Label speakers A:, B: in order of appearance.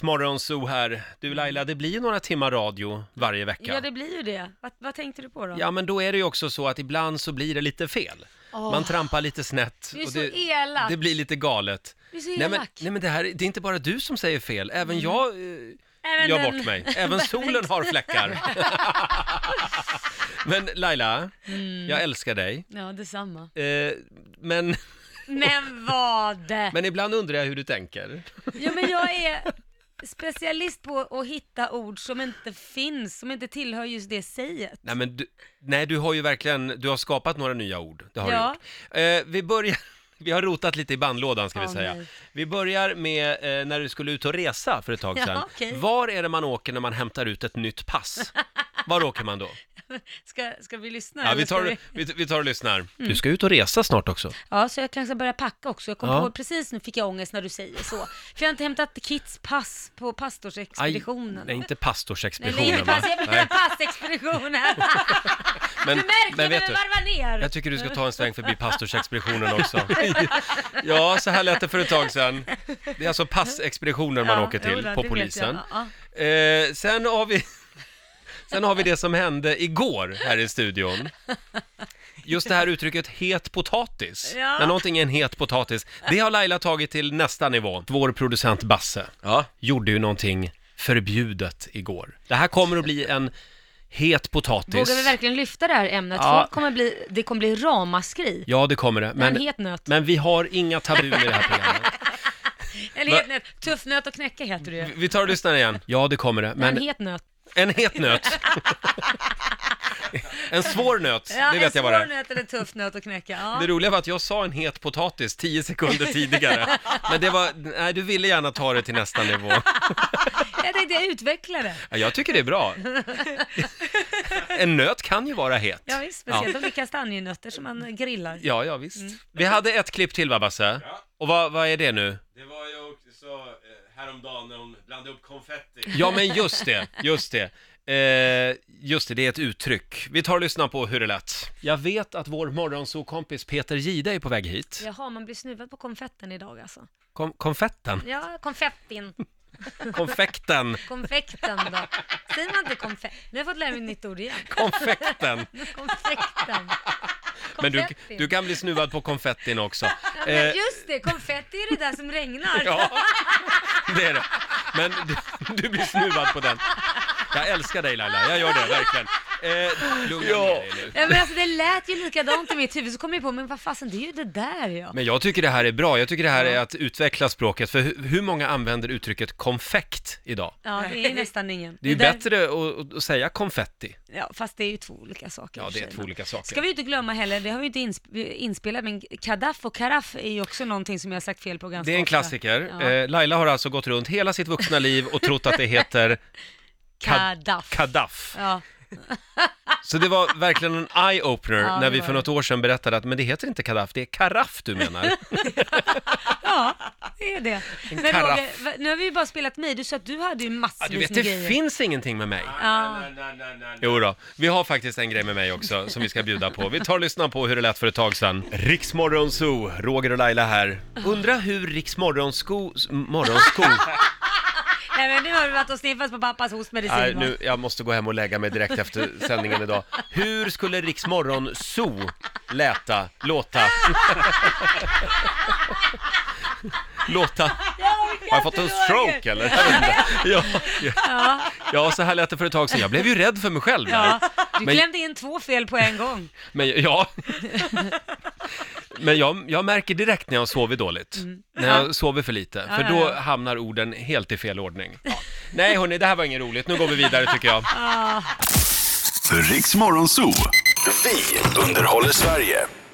A: Riksmorgonzoo här. Du Laila, det blir ju några timmar radio varje vecka.
B: Ja, det blir ju det. Vad, vad tänkte du på då?
A: Ja, men då är det ju också så att ibland så blir det lite fel.
B: Åh.
A: Man trampar lite snett.
B: Du är
A: och
B: så
A: det,
B: elak.
A: det blir lite galet.
B: Du är Mm. så
A: Nej men,
B: elak.
A: nej men det här, det är inte bara du som säger fel, även jag eh,
B: Även
A: gör
B: den-
A: bort mig. Även solen har fläckar. men Laila,
B: Mm.
A: jag älskar dig.
B: Ja, detsamma.
A: Eh, men,
B: Men vad?
A: men ibland undrar jag hur du tänker.
B: Jo, men jag är specialist på att hitta ord som inte finns, som inte tillhör just det säget.
A: Nej, men du, nej, du har ju verkligen, du har skapat några nya ord. Det har
B: Ja.
A: du gjort. Eh, vi börjar, vi har rotat lite i bandlådan ska vi
B: Åh,
A: säga.
B: nej.
A: Vi börjar med eh, när du skulle ut och resa för ett tag
B: Ja,
A: sedan.
B: okej.
A: Var är det man åker när man hämtar ut ett nytt pass? Var åker man då?
B: Ska, ska vi Mm. lyssna?
A: Ja,
B: eller
A: vi,
B: ska
A: tar, vi, vi tar och lyssnar. Du ska ut och resa snart också.
B: Ja, så jag kanske ska börja packa också. Jag kom
A: Ja.
B: på, precis nu fick jag ångest när du säger så. För jag har inte hämtat Kits pass på pastorsexpeditionen.
A: nej, inte
B: Nej, nej,
A: pastorsexpeditionen
B: inte
A: va?
B: pass, jag menar
A: Nej,
B: passexpeditionen.
A: men,
B: Du märkte,
A: men
B: jag
A: vet du,
B: behöver varva ner.
A: jag tycker du ska ta en sväng förbi pastorsexpeditionen också. Ja, så här lät det för ett tag sedan. Det är alltså passexpeditionen man åker till
B: jodå,
A: på
B: det vet
A: polisen.
B: jag. Ja,
A: Eh, sen har vi... Sen har vi det som hände igår här i studion. Just det här uttrycket het potatis.
B: Ja.
A: När någonting är en het potatis. Det har Laila tagit till nästa nivå. Vår producent Basse gjorde ju någonting förbjudet igår. Det här kommer att bli en het potatis.
B: ja. Vågar vi verkligen lyfta det här ämnet?
A: Ja.
B: Folk kommer bli, det kommer bli ramaskri.
A: Ja, det kommer det.
B: en het nöt.
A: men vi har inga tabun i det här programmet.
B: Eller
A: Va-
B: het nöt, tuff nöt att knäcka heter det ju.
A: Vi tar och lyssnar igen. Ja, det kommer det.
B: Men...
A: Men
B: En het nöt.
A: en het nöt. en svår nöt,
B: Ja,
A: det vet jag bara.
B: En svår nöt eller tuff nöt att knäcka. Ja.
A: Det roliga var att jag sa en het potatis tio sekunder tidigare. Men det var, nej du ville gärna ta det till nästa nivå.
B: Jag tänkte jag utvecklar det.
A: Ja, Jag tycker det är bra. En nöt kan ju vara het.
B: Ja, visst, speciellt om det är kastanjenötter som man grillar.
A: Ja, ja visst. Vi hade ett klipp till va Basse? Och vad, vad är det nu?
C: Det var ju också eh, häromdagen när hon blandade upp konfetti.
A: Ja men just det, just det. Eh, just det, det är ett uttryck. Vi tar och lyssnar på hur det lät. Jag vet att vår morgonsokompis Peter Gide är på väg hit.
B: Jaha, man blir snuvad på konfetten idag alltså.
A: Kom, konfetten?
B: Ja, konfettin.
A: Konfekten?
B: Konfekten då. Säger man inte konfett? Nu har jag fått lära mig ett nytt ord igen.
A: Konfekten?
B: Konfekten.
A: Men du,
B: Konfettin.
A: du kan bli snuvad på konfettin också.
B: Ja,
A: Eh,
B: men just det, konfetti är det där som regnar.
A: Ja, det är det. Men du, du blir snuvad på den. Jag älskar dig Laila, jag gör det verkligen. Eh, lugna ner dig nu.
B: Ja, men alltså det lät ju likadant i mitt huvud, så kom jag på, men vad fasen, det är ju det där ja.
A: Men jag tycker det här är bra, jag tycker det här är att utveckla språket. För hur, hur många använder uttrycket konfekt idag?
B: Ja, det är ju nästan ingen.
A: Det är ju
B: där-
A: bättre att- att, att säga konfetti.
B: Ja, fast det är ju två olika saker.
A: Ja,
B: i och
A: det är
B: för sig,
A: två
B: men-
A: olika saker.
B: Ska vi ju inte glömma heller, det har vi ju inte insp- inspelat, men kadaff och karaff är ju också någonting som jag har sagt fel på ganska
A: Det är en
B: ofta.
A: klassiker.
B: Ja.
A: Eh, Laila har alltså gått runt hela sitt vuxna liv och trott att det heter kad-
B: Kadaff.
A: kadaff.
B: ja.
A: Så det var verkligen en eye-opener
B: Ja,
A: när
B: det
A: vi
B: var
A: för
B: det.
A: något år sedan berättade att men det heter inte kadaff, det är karaff du menar.
B: ja, det är det. Men
A: karaff.
B: Roger, va- nu har vi ju bara spelat mig, du sa att du hade ju
A: Ja,
B: massvis
A: du vet,
B: med
A: det
B: grejer.
A: finns ingenting med mig.
B: Ja.
C: Nej, nej, nej, nej, nej.
A: Jo då, vi har faktiskt en grej med mig också som vi ska bjuda på. Vi tar och lyssnar på hur det lät för ett tag sedan. Riksmorgon Zoo, Roger och Laila här. Undra hur Riksmorgonsko... Morgonsko...
B: Nej men nu har du varit och sniffat på pappas hostmedicin
A: Nej,
B: va?
A: nu, jag måste gå hem och lägga mig direkt efter sändningen idag. Hur skulle Riksmorgon Zoo läta, låta? låta... Har jag fått en stroke eller? Jag vet inte. Ja, ja. ja, så här lät det för ett tag sedan. Jag blev ju rädd för mig själv. där.
B: Ja, du
A: Men-
B: klämde in två fel på en gång.
A: Men ja. Men jag, jag märker direkt när jag sover dåligt, när jag sover för lite, för
B: Mm. ja,
A: då
B: ja.
A: hamnar orden helt i fel ordning. Nej hörni, det här var inget roligt, nu går vi vidare tycker jag.
D: Riks Morgonzoo. Vi underhåller Sverige.